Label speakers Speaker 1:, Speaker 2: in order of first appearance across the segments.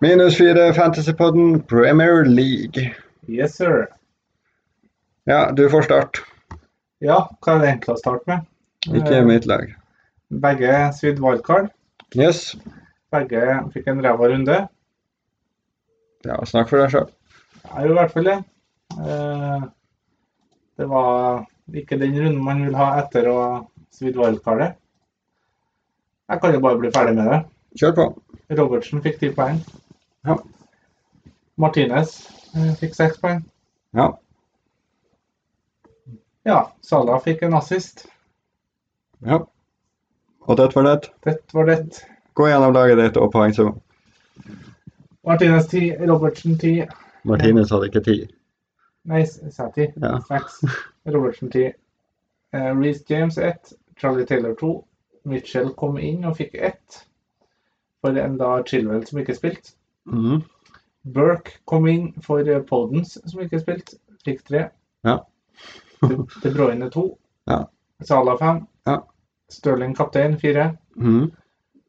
Speaker 1: Minus fire Fantasypodden Premier League.
Speaker 2: Yes, sir.
Speaker 1: Ja, du får start.
Speaker 2: Ja, hva er det egentlig å starte med?
Speaker 1: Ikke
Speaker 2: Eh,
Speaker 1: mitt lag.
Speaker 2: Begge svidd wildcard.
Speaker 1: Yes.
Speaker 2: Begge fikk en ræva runde.
Speaker 1: Ja, snakk for deg sjøl.
Speaker 2: Jeg gjorde i hvert fall det. Eh, Det var ikke den runden man vil ha etter å ha svidd wildcardet. Jeg kan jo bare bli ferdig med det.
Speaker 1: Kjør på.
Speaker 2: Robertsen fikk ti poeng.
Speaker 1: Ja.
Speaker 2: Martinez eh, fikk seks poeng.
Speaker 1: Ja.
Speaker 2: Ja, Salah fikk en assist.
Speaker 1: ja. Og tett for tett.
Speaker 2: Dette var det.
Speaker 1: Gå gjennom laget ditt og poengsum.
Speaker 2: Martinez 10, Robertsen 10,
Speaker 1: Martinez hadde ikke ti.
Speaker 2: nei, Sæti
Speaker 1: Ja.
Speaker 2: 6, Robertsen 10, eh, Reece James 1, Charlie Taylor 2, Mitchell kom inn og fikk 1, for en da Chilwell som ikke spilte.
Speaker 1: Mhm.
Speaker 2: Burke kom inn for eh, Podens som ikke spilte, fikk 3.
Speaker 1: Ja.
Speaker 2: De De Bruyne 2,
Speaker 1: Ja.
Speaker 2: Salah 5,
Speaker 1: Ja.
Speaker 2: Stirling kaptein 4,
Speaker 1: Mhm.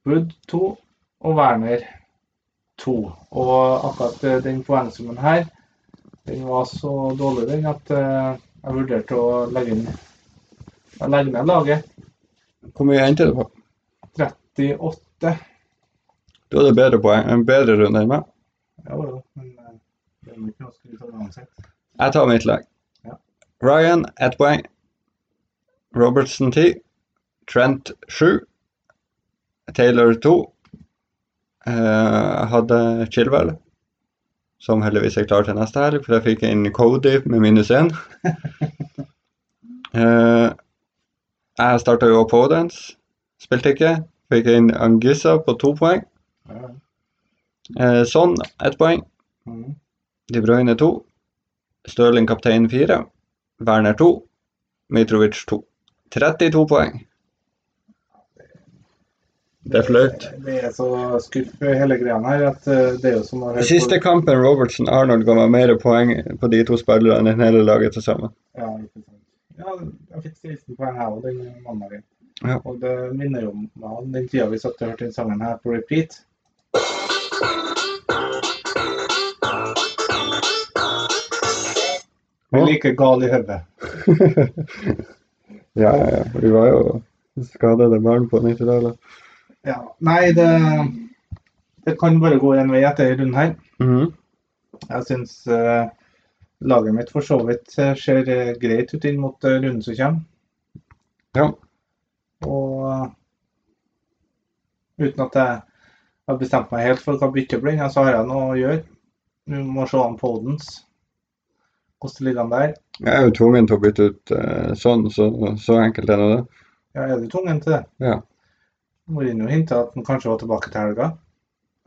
Speaker 2: Wood 2 og Werner 2. Og akkurat eh, den poengsummen her, den var så dårlig den at eh, jeg vurderte å legge inn å legge ned laget.
Speaker 1: Hvor mye endte det på?
Speaker 2: 38.
Speaker 1: Du hadde bedre poeng, en bedre runde enn meg.
Speaker 2: Ja, jo, men eh, det er jo ikke noe å skryte av uansett.
Speaker 1: Jeg tar mitt lag.
Speaker 2: Ja.
Speaker 1: Ryan ett poeng. Robertson ti. Trent sju. Taylor to. Eh, hadde Chilwell, som heldigvis er klar til neste helg, for jeg fikk inn Cody med minus én. Eh, jeg starta jo Podence, spilte ikke. Fikk inn Angissa på to poeng.
Speaker 2: Ja, ja.
Speaker 1: Eh, sånn, ett poeng.
Speaker 2: Mhm.
Speaker 1: De Bruyne 2, Stirling kaptein 4, Werner 2, Mitrovic 2. 32 poeng. Det er flaut.
Speaker 2: Det er så skuff hele greia her at eh, det er jo som å høre
Speaker 1: Siste
Speaker 2: på
Speaker 1: kampen Robertson-Arnold ga meg mer poeng på de to spillerne enn hele laget til sammen.
Speaker 2: ja, ikke sant. ja, jeg fikk 16 poeng her og den mandagen.
Speaker 1: Ja.
Speaker 2: Og det minner jo meg om den tida vi satt og hørte den sangen her på repeat. Vi er
Speaker 1: Å.
Speaker 2: like gale i hodet.
Speaker 1: Ja, ja, vi var jo skadede barn på 90-tallet.
Speaker 2: Ja. Nei, det, det kan bare gå en vei etter denne runden her.
Speaker 1: Mhm.
Speaker 2: Jeg syns eh, laget mitt for så vidt eh, ser eh, greit ut inn mot eh, runden som kommer.
Speaker 1: Ja.
Speaker 2: Og eh, uten at jeg har bestemt meg helt for hva byttet blir, ja, så har jeg noe å gjøre. Vi må se an Podens. Hvordan ligger han der?
Speaker 1: Jeg er jo tvungen til å bytte ut eh, sånn, så, så enkelt er nå det.
Speaker 2: Ja, er du tvungen til det?
Speaker 1: Ja.
Speaker 2: Mourinho hinta at han kanskje var tilbake til helga.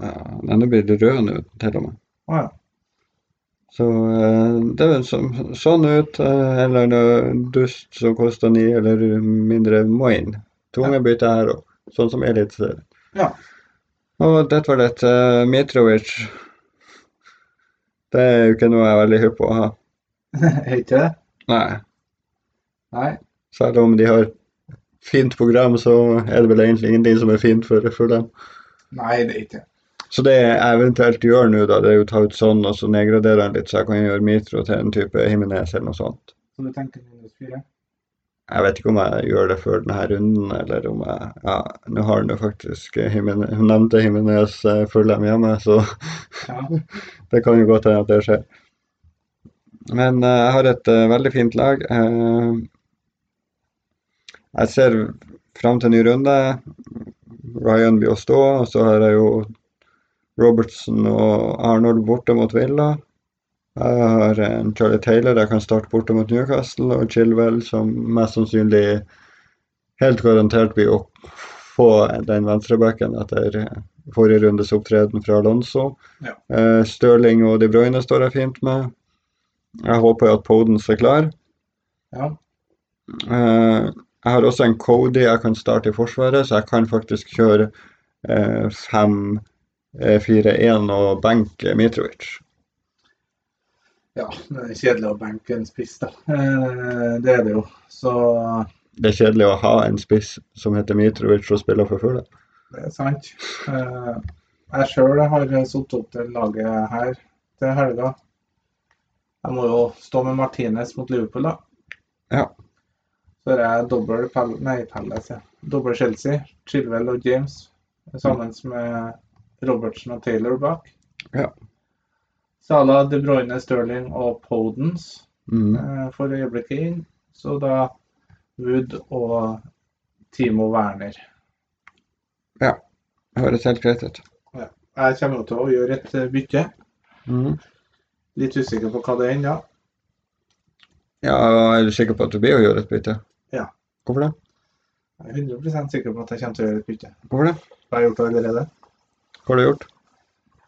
Speaker 1: Ja, denne blir rød nå, til og med.
Speaker 2: Å ja.
Speaker 1: Så eh, det er så, sånn ut. eh, Eller noe dust som koster ni eller mindre, må inn. Tunge bytter her òg, sånn som Eliteserien.
Speaker 2: Ja.
Speaker 1: Og dette var det. eh, Mitrovic. Det er jo ikke noe jeg er veldig hypp på å ha.
Speaker 2: Er ikke det?
Speaker 1: Nei.
Speaker 2: Nei.
Speaker 1: Selv om de har fint program, så er det vel egentlig ingenting som er fint for, for dem.
Speaker 2: Nei, det er ikke det.
Speaker 1: Så det jeg eventuelt gjør nå, da, det er jo å ta ut sånn, og så nedgradere han litt, så jeg kan gjøre Mitro til en type Himinez eller noe sånt.
Speaker 2: Så du tenker minus fire?
Speaker 1: Jeg vet ikke om jeg gjør det før denne runden, eller om jeg Ja, nå har han jo faktisk eh, Himine- hun nevnte Himinez Fullem hjemme, så
Speaker 2: Ja.
Speaker 1: det kan jo godt hende at det skjer. Men eh, jeg har et eh, veldig fint lag. Eh, jeg ser fram til en ny runde. Ryan blir å stå, og så har jeg jo Robertson og Arnold borte mot Villa. Jeg har eh, en Charlie Taylor jeg kan starte borte mot Newcastle, og Chilwell som mest sannsynlig helt garantert blir å få den venstrebacken etter forrige rundes opptreden fra Alonso.
Speaker 2: Ja.
Speaker 1: Eh, Stirling og De Bruyne står jeg fint med. Jeg håper jo at Podence er klar.
Speaker 2: ja.
Speaker 1: Eh, jeg har også en Cody jeg kan starte i Forsvaret, så jeg kan faktisk kjøre eh, 5-4-1 og benke Mitrovic.
Speaker 2: Ja, det er kjedelig å benke en spiss, da. Eh, Det er det jo. Så
Speaker 1: Det er kjedelig å ha en spiss som heter Mitrovic og spiller for fulle.
Speaker 2: det er sant. Eh, Jeg sjøl har satt opp det laget her til helga. Jeg må jo stå med Martinez mot Liverpool, da.
Speaker 1: Ja.
Speaker 2: Så har jeg dobbel Pal nei, Palace, ja. Dobbel Chelsea, Chilwell og James sammen med Robertsen og Taylor bak.
Speaker 1: Ja.
Speaker 2: Salah, De Bruyne, Sterling og Podens
Speaker 1: Mm.
Speaker 2: eh, for øyeblikket inn. Så da Wood og Timo Werner.
Speaker 1: Høres helt greit ut.
Speaker 2: Jeg kommer jo til å gjøre et eh, bytte.
Speaker 1: Mm.
Speaker 2: Litt usikker på hva det er ennå.
Speaker 1: Ja, og er du sikker på at du blir å gjøre et bytte?
Speaker 2: Ja.
Speaker 1: Hvorfor det?
Speaker 2: Jeg er 100 sikker på at jeg kommer til å gjøre et bytte.
Speaker 1: Hvorfor det?
Speaker 2: Jeg har jeg gjort det allerede.
Speaker 1: Hva har du gjort?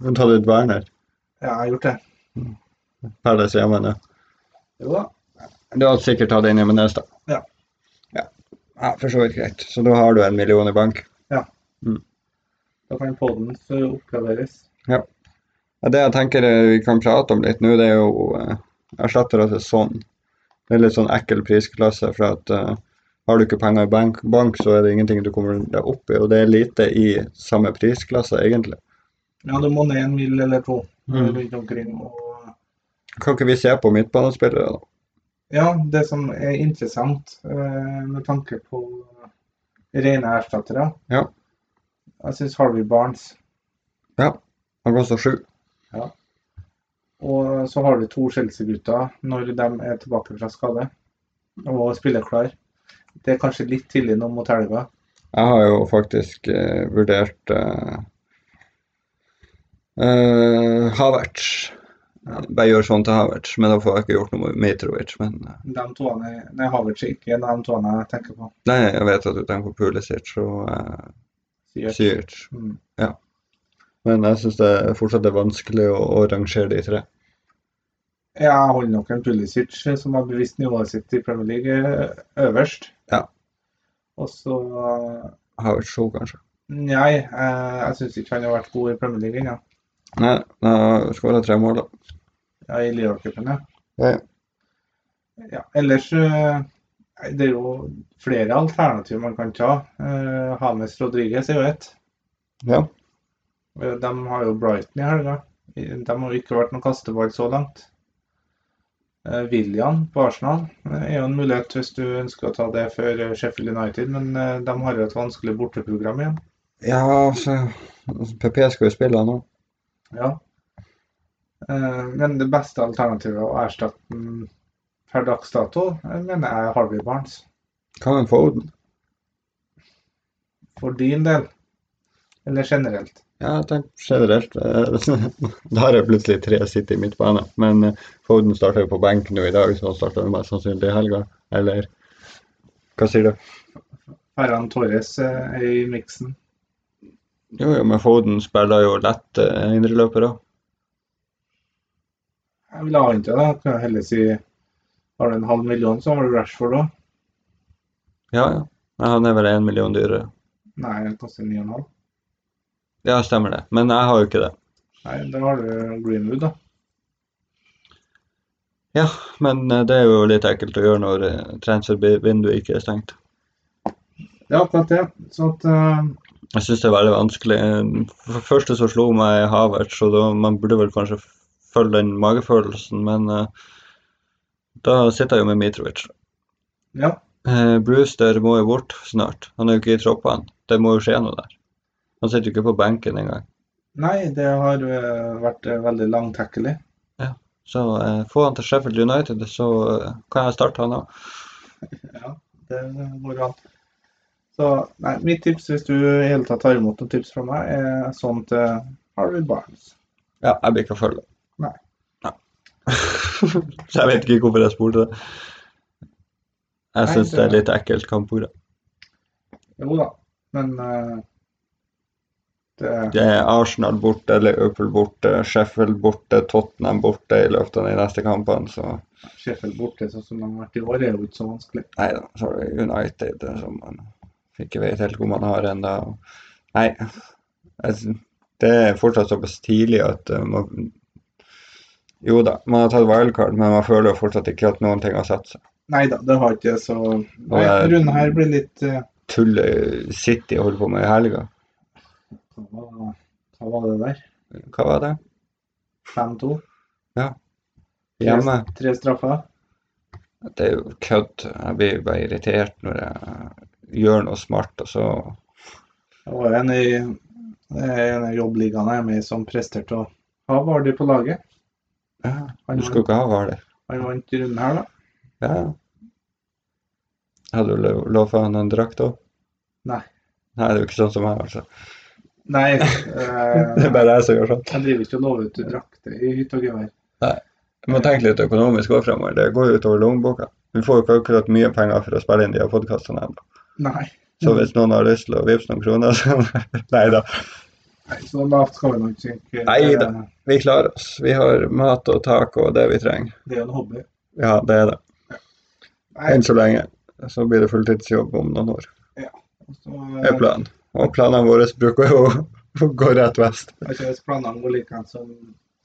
Speaker 1: Du har tatt ut Werner.
Speaker 2: Ja, jeg har gjort det.
Speaker 1: Palace hjemme nå.
Speaker 2: Jo da.
Speaker 1: Du har sikkert tatt inn Jimenez, da.
Speaker 2: Ja.
Speaker 1: ja. Ja, for så vidt greit. Så da har du en million i bank.
Speaker 2: Da kan poden oppgraderes.
Speaker 1: Ja, det jeg tenker eh, vi kan prate om litt nå, det er jo eh, erstatter til sånn. Det er litt sånn ekkel prisklasse, for at eh, har du ikke penger i bank, bank, så er det ingenting du kommer deg opp i, og det er lite i samme prisklasse, egentlig.
Speaker 2: Ja, du må ned en mil eller to
Speaker 1: Mm.
Speaker 2: rundt omkring. Og
Speaker 1: Kan ikke vi se på midtbanespillere, da?
Speaker 2: ja, det som er interessant eh, med tanke på rene erstattere
Speaker 1: Ja.
Speaker 2: Jeg syns Harvey Barnes.
Speaker 1: Han koster sju.
Speaker 2: Og så har du to Chelsea-gutter når de er tilbake fra skade og spiller klar. Det er kanskje litt tidlig nå mot helga.
Speaker 1: Jeg har jo faktisk eh, vurdert eh, eh, Havertz.
Speaker 2: Ja.
Speaker 1: Bare gjør sånn til Havertz, men da får jeg ikke gjort noe med Mitrovic. Men eh,
Speaker 2: De toene, nei, Havertz er ikke en av de toene jeg tenker på.
Speaker 1: nei, jeg vet at du tenker på Pulisic og eh,
Speaker 2: Sier.
Speaker 1: Ziyech.
Speaker 2: Mm.
Speaker 1: Men jeg syns det fortsatt er vanskelig å, å rangere de tre.
Speaker 2: Jeg holder nok en Pulisic, som har bevist nivået sitt i Premier League, ø- øverst.
Speaker 1: Ja.
Speaker 2: Og så eh,
Speaker 1: Havertz to, kanskje.
Speaker 2: Nei, eh, jeg syns ikke han har vært god i Premier League ennå.
Speaker 1: Nei, han har skåra tre mål, da.
Speaker 2: Ja, I Liverpool-cupen, ja.
Speaker 1: Ja,
Speaker 2: Ja, ellers eh, Det er jo flere alternativer man kan ta. Eh, James Rodriguez er jo ett.
Speaker 1: Ja.
Speaker 2: Eh, De har jo Brighton i helga. I- De har jo ikke vært noen kasteball så langt. Eh, William på Arsenal eh, er jo en mulighet hvis du ønsker å ta det før eh, Sheffield United, men eh, de har jo et vanskelig borteprogram igjen.
Speaker 1: ja altså, så PP skal jo spille nå.
Speaker 2: Ja. Eh, Men det beste alternativet å erstatte den per dags dato, eh, mener jeg er Harvey Barnes.
Speaker 1: Hva med Foden?
Speaker 2: For din del, eller generelt.
Speaker 1: Ja, jeg tenker generelt. eh, Da har jeg plutselig tre City i midtbane. Men eh, Foden starter jo på benk nå i dag, så han starter jo mest sannsynlig i helga. Eller hva sier du?
Speaker 2: Ferran Torres eh, er i miksen.
Speaker 1: Jo, jo, men Foden spiller jo lett eh, indreløper òg.
Speaker 2: Jeg vil avvente da, kan jeg heller si har du en halv million, så har du Rashford òg.
Speaker 1: Ja, ja. Men han er vel én million dyrere.
Speaker 2: Nei, den koster 9,5.
Speaker 1: Ja, stemmer det. Men jeg har jo ikke det.
Speaker 2: Nei, da har du Greenwood, da.
Speaker 1: Ja, men eh, det er jo litt ekkelt å gjøre når eh, transfervinduet ikke er stengt.
Speaker 2: Det er akkurat det. Så at eh,
Speaker 1: Jeg syns det er veldig vanskelig. For det første så slo meg Havertz, så da, man burde vel kanskje følge den magefølelsen, men eh, da sitter jeg jo med Mitrovic.
Speaker 2: ja.
Speaker 1: Eh, Brewster må jo bort snart. Han er jo ikke i troppene. Det må jo skje noe der. Han sitter jo ikke på benken engang.
Speaker 2: Nei, det har eh, vært eh, veldig langtekkelig.
Speaker 1: Så eh, få han til Sheffield United, så eh, kan jeg starte han òg.
Speaker 2: Ja, det går an. Så nei, mitt tips hvis du i hele tatt tar imot noen tips fra meg, er sånn til Harvey Barnes.
Speaker 1: Ja, jeg blir ikke å følge.
Speaker 2: Nei.
Speaker 1: Nei. så jeg vet ikke hvorfor jeg spurte det. Jeg
Speaker 2: Nei,
Speaker 1: syns det er
Speaker 2: det-
Speaker 1: litt ekkelt kampprogram.
Speaker 2: Jo da, men eh, det
Speaker 1: Det er Arsenal borte, Liverpool borte, Sheffield borte, Tottenham borte i løpet av de neste kampene. Så
Speaker 2: Sheffield borte sånn som de har vært i år, er jo ikke så vanskelig.
Speaker 1: nei da, så er det United eh, som man ikke vet helt hvor man har ennå. Nei, altså, det er fortsatt såpass tidlig at eh, man Jo da, man har tatt wildcard, men man føler jo fortsatt ikke at noen ting har satt seg.
Speaker 2: Nei da, det har ikke så Nei,
Speaker 1: Og, eh,
Speaker 2: runden her blir litt eh,
Speaker 1: Tulle City holder på med i helga.
Speaker 2: hva Hva var det der?
Speaker 1: Hva var det?
Speaker 2: 5-2.
Speaker 1: Hjemme?
Speaker 2: Tre straffer.
Speaker 1: Det er jo kødd. Jeg blir bare irritert når jeg gjør noe smart, og så
Speaker 2: Det var en i det er en av jobbligaene jeg er med i som presterte å ha Vardø på laget.
Speaker 1: ja,
Speaker 2: Han
Speaker 1: Du skal
Speaker 2: vant,
Speaker 1: ikke ha Hvaler.
Speaker 2: han vant runden her, da.
Speaker 1: Ja. Hadde du lo- lovet han en drakt òg?
Speaker 2: Nei.
Speaker 1: Nei, det er jo ikke sånn som meg, altså.
Speaker 2: Nei, eh,
Speaker 1: Det er bare jeg som gjør sånn.
Speaker 2: jeg driver ikke og lover ut drakter i hytt og gevær.
Speaker 1: Du må tenke litt økonomisk òg fremover. Det går jo utover lommeboka. Vi får jo ikke akkurat mye penger for å spille inn de her podkastene ennå.
Speaker 2: Nei.
Speaker 1: Så hvis noen har lyst til å vippse noen kroner, så Nei da.
Speaker 2: Nei, Så lavt skal vi nok ikke synke.
Speaker 1: Nei da.
Speaker 2: Eh,
Speaker 1: Vi klarer oss. Vi har mat og tak og det vi trenger.
Speaker 2: Det er jo en hobby.
Speaker 1: Ja, det er det.
Speaker 2: Nei,
Speaker 1: Enn så lenge. Så blir det fulltidsjobb om noen år.
Speaker 2: så,
Speaker 1: Det er
Speaker 2: eh,
Speaker 1: planen. Og planene våre bruker jo å gå rett vest.
Speaker 2: jeg tror hvis planene går like som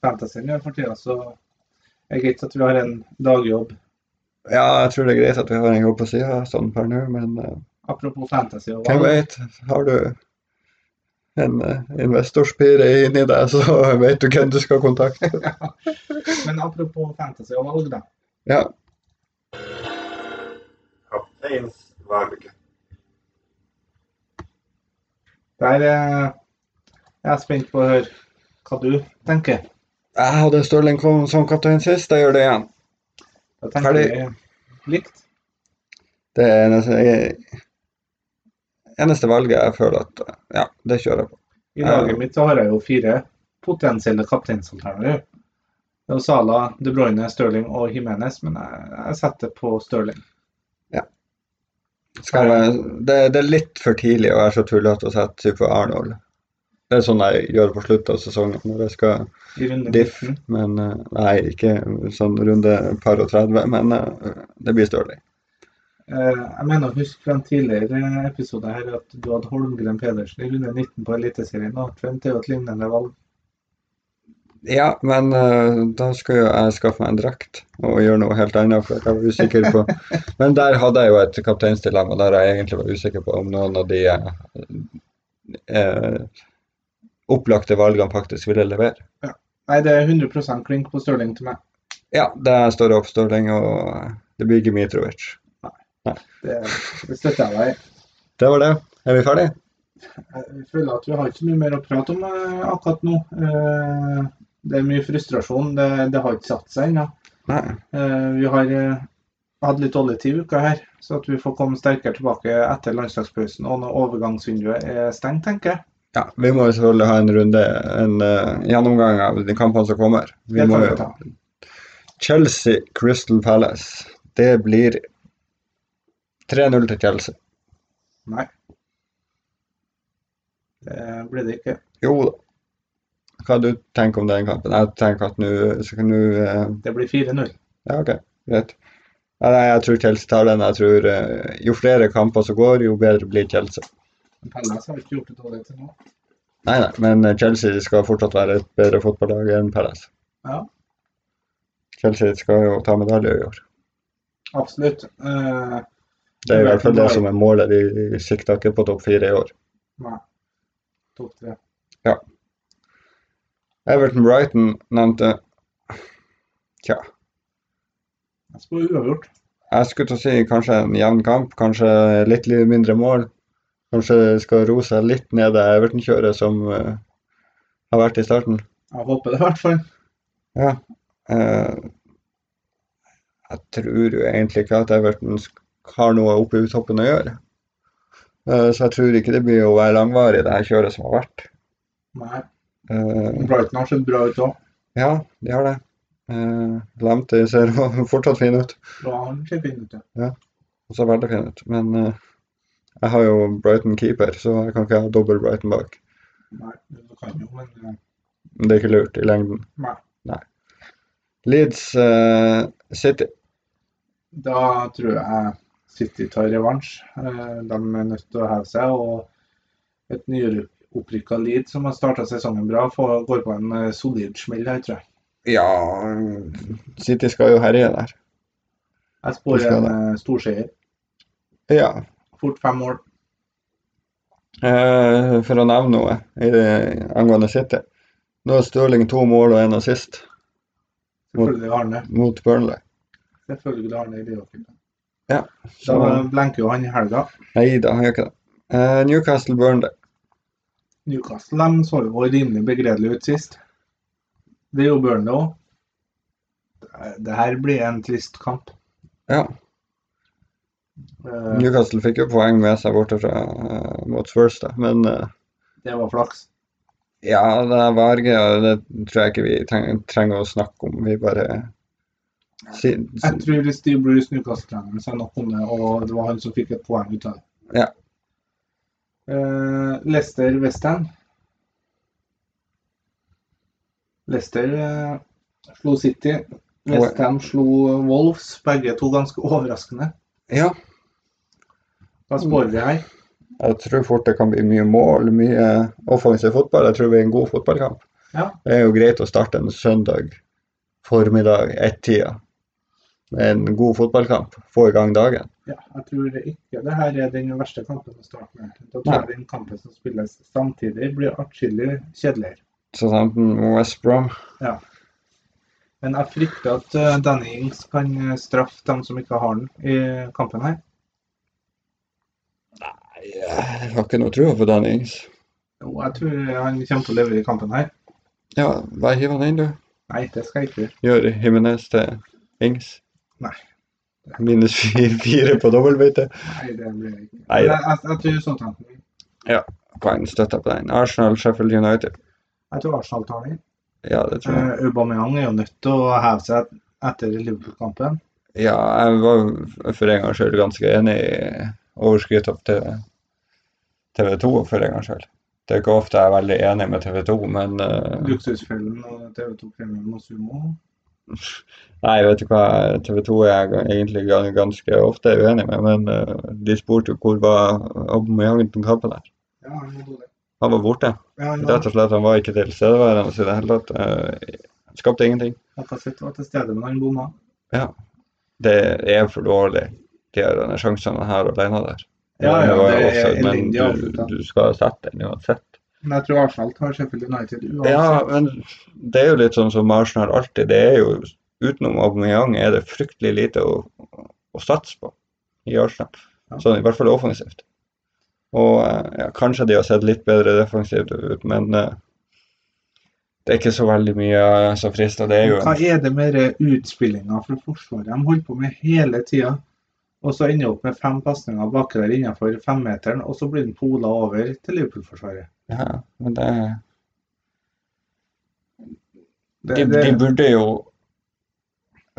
Speaker 2: fantasyen gjør for tida, så er det greit at vi har en dagjobb.
Speaker 1: Ja, jeg tror det er greit at vi har en jobb på sida sånn per nå, men eh,
Speaker 2: Apropos fantasy og
Speaker 1: hvem
Speaker 2: valg.
Speaker 1: vet? Har du en eh, investorspire inni deg, så vet du hvem du skal kontakte.
Speaker 2: Men apropos fantasy og valg, da.
Speaker 1: Ja.
Speaker 3: Kapteins valg.
Speaker 2: Der eh, jeg er spent på å høre hva du tenker.
Speaker 1: Jeg hadde Stirling Cone som kaptein sist, jeg gjør det igjen.
Speaker 2: Da tenker
Speaker 1: Ferdig.
Speaker 2: vi likt.
Speaker 1: Det er eneste, jeg, eneste valget jeg føler at eh, Ja, det kjører jeg på.
Speaker 2: I laget mitt så har jeg jo fire potensielle kapteinsalternativer. Det er jo Sala, De Bruyne, Stirling og Jimenez, men jeg, jeg setter på Stirling.
Speaker 1: Skal jeg, det, det er litt for tidlig å være så tullete og sette type Arnold. Det er sånn jeg gjør på slutten av sesongen når jeg skal
Speaker 2: I runde
Speaker 1: Diff.
Speaker 2: 19.
Speaker 1: Men eh, nei, ikke sånn runde par og 30, men eh, det blir Stirling.
Speaker 2: Eh, Jeg mener å huske fra en tidligere episode her at du hadde Holmgren Pedersen i runde 19 på Eliteserien. og Trent er jo et lignende valg.
Speaker 1: Ja, men eh, da skulle jo jeg skaffe meg en drakt og gjøre noe helt annet, for jeg var usikker på Men der hadde jeg jo et kapteinsdilemma der jeg egentlig var usikker på om noen av de eh, eh, opplagte valgene faktisk ville levere.
Speaker 2: Nei, det er 100 klink på Stirling til meg.
Speaker 1: Ja, der står det opp Stirling, og det blir ikke Mitrovic.
Speaker 2: Det, det støtter jeg deg i.
Speaker 1: Det var det. Er vi ferdige?
Speaker 2: Jeg føler at vi har ikke mye mer å prate om eh, akkurat nå. Eh, Det er mye frustrasjon. Det, det har ikke satt seg ennå.
Speaker 1: Nei.
Speaker 2: Eh, Vi har eh, hatt litt oljetid i uka her, så at vi får komme sterkere tilbake etter landslagspausen og når overgangsvinduet er stengt, tenker jeg.
Speaker 1: Ja, vi må jo selvfølgelig ha en runde, en eh, gjennomgang av de kampene som kommer. Vi
Speaker 2: Det
Speaker 1: må
Speaker 2: kan vi
Speaker 1: jo
Speaker 2: ta.
Speaker 1: Chelsea Crystal Palace. Det blir 3-0 til Chelsea.
Speaker 2: Nei. Det blir det ikke.
Speaker 1: Jo da. Hva du tenker om den kampen? Jeg tenker at nå så kan du eh,
Speaker 2: Det blir 4-0.
Speaker 1: Ja, OK, greit. Ja, Nei, jeg tror Chelsea tar den. Jeg tror eh, jo flere kamper som går, jo bedre blir Chelsea.
Speaker 2: Pellas har ikke gjort det dårlig til nå.
Speaker 1: Nei, nei, men eh, Chelsea skal fortsatt være et bedre fotballag enn Palace.
Speaker 2: Ja.
Speaker 1: Chelsea skal jo ta medalje i år.
Speaker 2: Absolutt. Eh,
Speaker 1: Det er i hvert fall det som er målet. De sikter ikke på topp fire i år.
Speaker 2: Nei. Topp tre.
Speaker 1: Everton Brighton nevnte Tja,
Speaker 2: Jeg spår uavgjort.
Speaker 1: jeg skulle til å si kanskje en jevn kamp, kanskje litt li- mindre mål. Kanskje det skal roe seg litt ned det Everton-kjøret som eh, har vært i starten.
Speaker 2: Jeg håper det, i hvert fall.
Speaker 1: Ja. eh, jeg tror jo egentlig ikke at Everton sk- har noe oppe i toppen å gjøre. Eh, så jeg tror ikke det blir å være langvarig, det her kjøret som har vært.
Speaker 2: Nei.
Speaker 1: Eh,
Speaker 2: Brighton har sett bra ut òg.
Speaker 1: ja, de har det. Uh, Lemte ser fortsatt fin ut.
Speaker 2: Bra han ser fin ut. ja.
Speaker 1: Og så veldig fin ut. Men eh, jeg har jo Brighton keeper, så jeg kan ikke ha dobbel Brighton bak.
Speaker 2: Nei, du kan jo, men eh,
Speaker 1: Men Det er ikke lurt i lengden.
Speaker 2: Nei.
Speaker 1: Leeds eh, City.
Speaker 2: Da tror jeg City tar revansj. Eh, De er nødt til å heve seg. Og et nyopprykka Leed som har starta sesongen bra, får, går på en eh, solid smell her, tror jeg.
Speaker 1: Ja City skal jo herje der.
Speaker 2: Jeg
Speaker 1: Det
Speaker 2: spår
Speaker 1: skal
Speaker 2: en eh, storseier.
Speaker 1: Ja.
Speaker 2: Fort fem mål.
Speaker 1: Eh, for å nevne noe i det, angående City. Nå har Stirling to mål og én assist
Speaker 2: Selvfølgelig har han det.
Speaker 1: mot Burnley.
Speaker 2: Selvfølgelig har han det i Liverpool.
Speaker 1: Så
Speaker 2: Da blenker jo han i helga.
Speaker 1: nei da, han gjør ikke det. Eh, Newcastle Burnley.
Speaker 2: Newcastle de så jo rimelig begredelig ut sist. Det gjorde Burnley òg. Det her blir en trist kamp.
Speaker 1: Ja.
Speaker 2: Eh,
Speaker 1: Newcastle fikk jo poeng med seg borte fra eh, mot Spurs, da. Men eh,
Speaker 2: Det var flaks.
Speaker 1: ja, det er Varge, og det tror jeg ikke vi treng, trenger å snakke om. Vi bare si,
Speaker 2: Jeg tror Steve Bruce, Newcastle-treneren, sa nok om det, og det var han som fikk et poeng ut av det.
Speaker 1: Ja.
Speaker 2: Eh, Leicester Westham. Leicester eh, slo City. Westham slo Wolves. Begge to ganske overraskende.
Speaker 1: Ja,
Speaker 2: Hva spår vi her?
Speaker 1: jeg tror fort det kan bli mye mål, mye offensiv fotball. Jeg tror det blir en god fotballkamp.
Speaker 2: Ja.
Speaker 1: Det er jo greit å starte en søndag formiddag, ett-tida, med en god fotballkamp. Få i gang dagen.
Speaker 2: ja jeg tror det ikke det her er den verste kampen å starte med. Da tror jeg den kampen som spilles samtidig, blir atskillig kjedeligere.
Speaker 1: Så sammen med West Brom.
Speaker 2: Men jeg frykter at eh, Danny Ings kan eh, straffe dem som ikke har den i kampen her.
Speaker 1: Jeg har ikke noe tro på Dan Ings.
Speaker 2: Jo, jeg tror han kommer til å levere i kampen her.
Speaker 1: Ja, bare hiv han inn, du.
Speaker 2: Nei, det skal jeg ikke gjøre.
Speaker 1: Gjør Jimenez til Ings.
Speaker 2: Nei.
Speaker 1: Minus fire, fire på dobbeltbeite.
Speaker 2: Nei, det blir jeg ikke.
Speaker 1: Nei,
Speaker 2: Men
Speaker 1: det
Speaker 2: jeg, jeg, jeg tror Southampton vinner.
Speaker 1: kan støtte på den. Arsenal, Sheffield United.
Speaker 2: Jeg tror Arsenal tar den.
Speaker 1: Ja, det tror jeg.
Speaker 2: Uh, Aubameyang er jo nødt til å heve seg etter Liverpool-kampen.
Speaker 1: Ja, jeg var for en gangs skyld ganske enig i overskrytet opp til TV 2 for en gangs skyld. Det er ikke ofte jeg er veldig enig med TV 2, men eh,
Speaker 2: Luksusfellen og TV2-premien og Sumo.
Speaker 1: Nei, vet du hva, TV 2 er jeg ga- egentlig gan- ganske ofte uenig med, men eh, de spurte jo hvor var Aubameyang på kampen der.
Speaker 2: Ja, han er dårlig.
Speaker 1: Han var borte.
Speaker 2: Ja, han
Speaker 1: Rett og slett, han var ikke tilstedeværende i det hele tatt. eh, Skapte ingenting.
Speaker 2: Lacazette var til stede, men han bomma.
Speaker 1: Det er for dårlig, de her sjansene her alene der.
Speaker 2: Ja, ja,
Speaker 1: Det var jo
Speaker 2: det er
Speaker 1: offside, men
Speaker 2: elendig
Speaker 1: du-
Speaker 2: avslutta.
Speaker 1: Du skal sette den uansett.
Speaker 2: Men jeg tror Arsenal tar Sheffield United uansett.
Speaker 1: Ja, men det er jo litt sånn som Arsenal alltid. Det er jo utenom Aubameyang er det fryktelig lite å, å satse på i Arsenal.
Speaker 2: Ja.
Speaker 1: Sånn, I hvert fall offensivt. Og eh, ja, kanskje de har sett litt bedre defensivt ut, men eh, det er ikke så veldig mye eh, som frister. Det er jo
Speaker 2: Hva er det med det utspillinga fra Forsvaret de holder på med hele tida? Og så ender opp med fem pasninger bakre innenfor femmeteren, og så blir den pola over til Liverpool-forsvaret.
Speaker 1: ja, men det,
Speaker 2: Det,
Speaker 1: de,
Speaker 2: det,
Speaker 1: de burde jo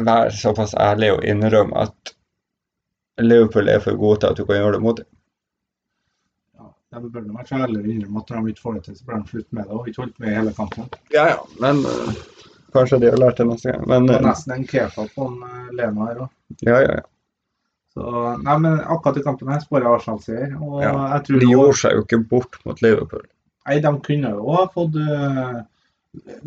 Speaker 1: være såpass ærlige og innrømme at Liverpool er for gode til at du kan gjøre det mot dem.
Speaker 2: ja, de burde nok heller innrømme at når de ikke får det til, så blir de slutt med det, og ikke holdt med i hele kampen.
Speaker 1: Ja, ja, men eh, kanskje de har lært det neste gang. Men
Speaker 2: Det
Speaker 1: eh,
Speaker 2: var nesten en kepa på en eh, Lena her òg.
Speaker 1: ja, ja, ja.
Speaker 2: Så nei, men akkurat i kampen her spår jeg Arsenal-seier. Og
Speaker 1: Ja,
Speaker 2: jeg tror
Speaker 1: De
Speaker 2: jo-
Speaker 1: gjorde seg jo ikke bort mot Liverpool.
Speaker 2: Nei, de kunne jo ha fått uh,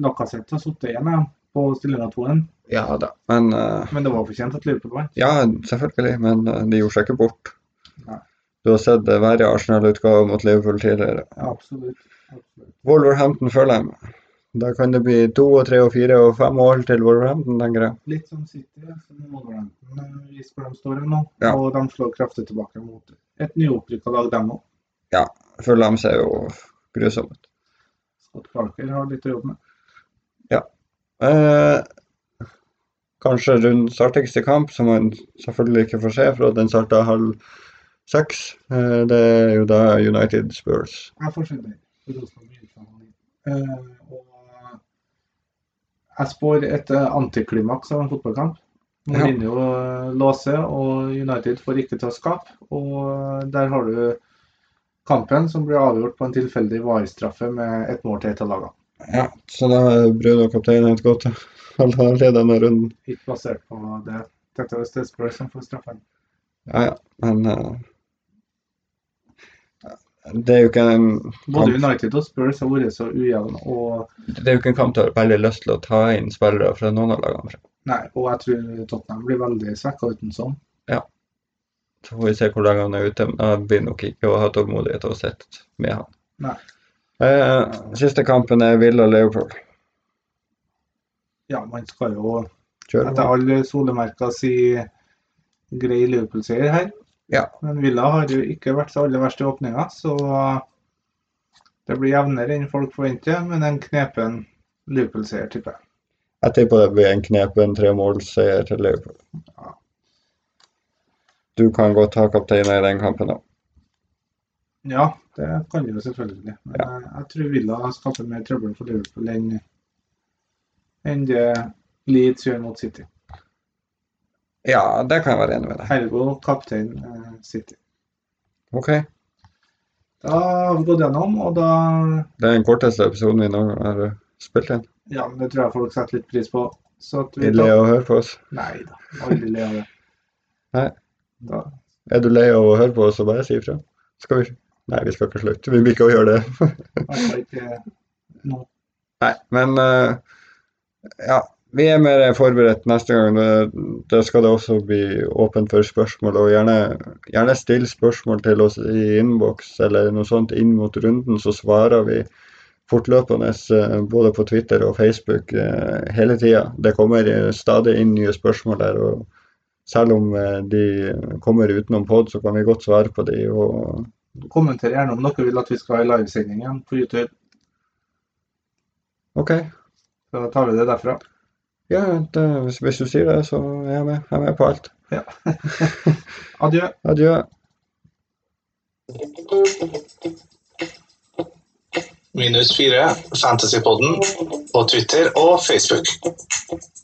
Speaker 2: Lacassette og sittet igjen ja, på stillinga 2-1,
Speaker 1: Ja da. Men eh,
Speaker 2: men det var fortjent at Liverpool vant.
Speaker 1: Ja, selvfølgelig, men eh, de gjorde seg ikke bort.
Speaker 2: Nei.
Speaker 1: Du har sett det verre Arsenal-utgave mot Liverpool tidligere.
Speaker 2: Ja, absolutt. absolutt.
Speaker 1: Wolverhampton følger dem. Da kan det bli to og tre og fire og fem mål til Wolverhampton, tenker jeg.
Speaker 2: Litt som City, som Wolverhampton eh, viser hvor de står nå.
Speaker 1: Ja.
Speaker 2: Og de slår kraftig tilbake mot et nyopprykka lag, dem òg.
Speaker 1: Følger dem ser jo grusomt ut.
Speaker 2: Scott Parker har litt å jobbe med.
Speaker 1: Eh, kanskje rundt startigste kamp, som man selvfølgelig ikke får se, for at den starta halv seks. Eh, det er jo da United Spurs.
Speaker 2: Jeg får se det. Rosenborg blir utfallet nå. Eh, og jeg spår et eh, antiklimaks av en fotballkamp.
Speaker 1: Ja.
Speaker 2: Mourinho eh, låser, og United får ikke til å skape. Og eh, der har du kampen som blir avgjort på en tilfeldig VAR-straffe med ett mål til ett av lagene.
Speaker 1: Ja, så da er Bruno kaptein helt godt. Han har ledet denne runden.
Speaker 2: Ikke basert på det. Dette er Stesbø som får straffen.
Speaker 1: Ja, ja, men eh, det er jo ikke en
Speaker 2: Både
Speaker 1: kamp,
Speaker 2: United og Spurs har vært så ujevne, og,
Speaker 1: det er jo ikke en kamp du har veldig lyst til å ta inn spillere fra noen av lagene. fra.
Speaker 2: nei, og jeg tror Tottenham blir veldig svekka uten sånn.
Speaker 1: Ja. Så får vi se hvor lenge han er ute. men Jeg blir nok ikke å ha tålmodighet til å sitte med han.
Speaker 2: Nei.
Speaker 1: Eh, siste kampen er Villa Leopold.
Speaker 2: Ja, man skal jo
Speaker 1: Kjør
Speaker 2: etter
Speaker 1: på.
Speaker 2: alle solemerker si grei Liverpool-seier her.
Speaker 1: Ja.
Speaker 2: Men Villa har jo ikke vært så aller verst i åpninga, så det blir jevnere enn folk forventer. Men en knepen Liverpool-seier, tipper jeg.
Speaker 1: Jeg tipper det blir en knepen tremålsseier til Leopold.
Speaker 2: Ja.
Speaker 1: Du kan godt ha kapteinen i den kampen, da.
Speaker 2: Ja, det kan de jo selvfølgelig. Men jeg, jeg tror Villa skaper mer trøbbel for Liverpool enn enn det Leeds gjør mot City.
Speaker 1: Ja, det kan jeg være enig med deg.
Speaker 2: Ergo kaptein eh, City.
Speaker 1: OK.
Speaker 2: Da har vi gått gjennom, og da
Speaker 1: Det er den korteste episoden vi noen gang har eh, spilt inn.
Speaker 2: Ja, men det tror jeg folk setter litt pris på. Så at vi
Speaker 1: Vi ler av å høre på oss.
Speaker 2: Nei da, aldri le av det.
Speaker 1: Nei.
Speaker 2: Da,
Speaker 1: Er du lei av å høre på oss, så bare si ifra. Skal vi Nei, vi skal ikke slutte. Vi blir ikke å gjøre det.
Speaker 2: altså ikke nå.
Speaker 1: Nei, men eh, ja. Vi er mer forberedt neste gang. Det, det skal det også bli åpent for spørsmål. Og gjerne, gjerne still spørsmål til oss i innboks eller noe sånt inn mot runden, så svarer vi fortløpende eh, både på Twitter og Facebook eh, hele tida. Det kommer eh, stadig inn nye spørsmål der. og selv om eh, de kommer utenom pod, så kan vi godt svare på de. Og
Speaker 2: Kommenter gjerne om dere vil at vi skal ha en livesending igjen på YouTube.
Speaker 1: OK,
Speaker 2: Så da tar vi det derfra.
Speaker 1: ja, det, hvis, hvis du sier det, så er jeg med. Jeg er med på alt.
Speaker 2: Ja. Adjø.
Speaker 1: Adjø.
Speaker 4: Minus 4, Fantasypodden på Twitter og Facebook.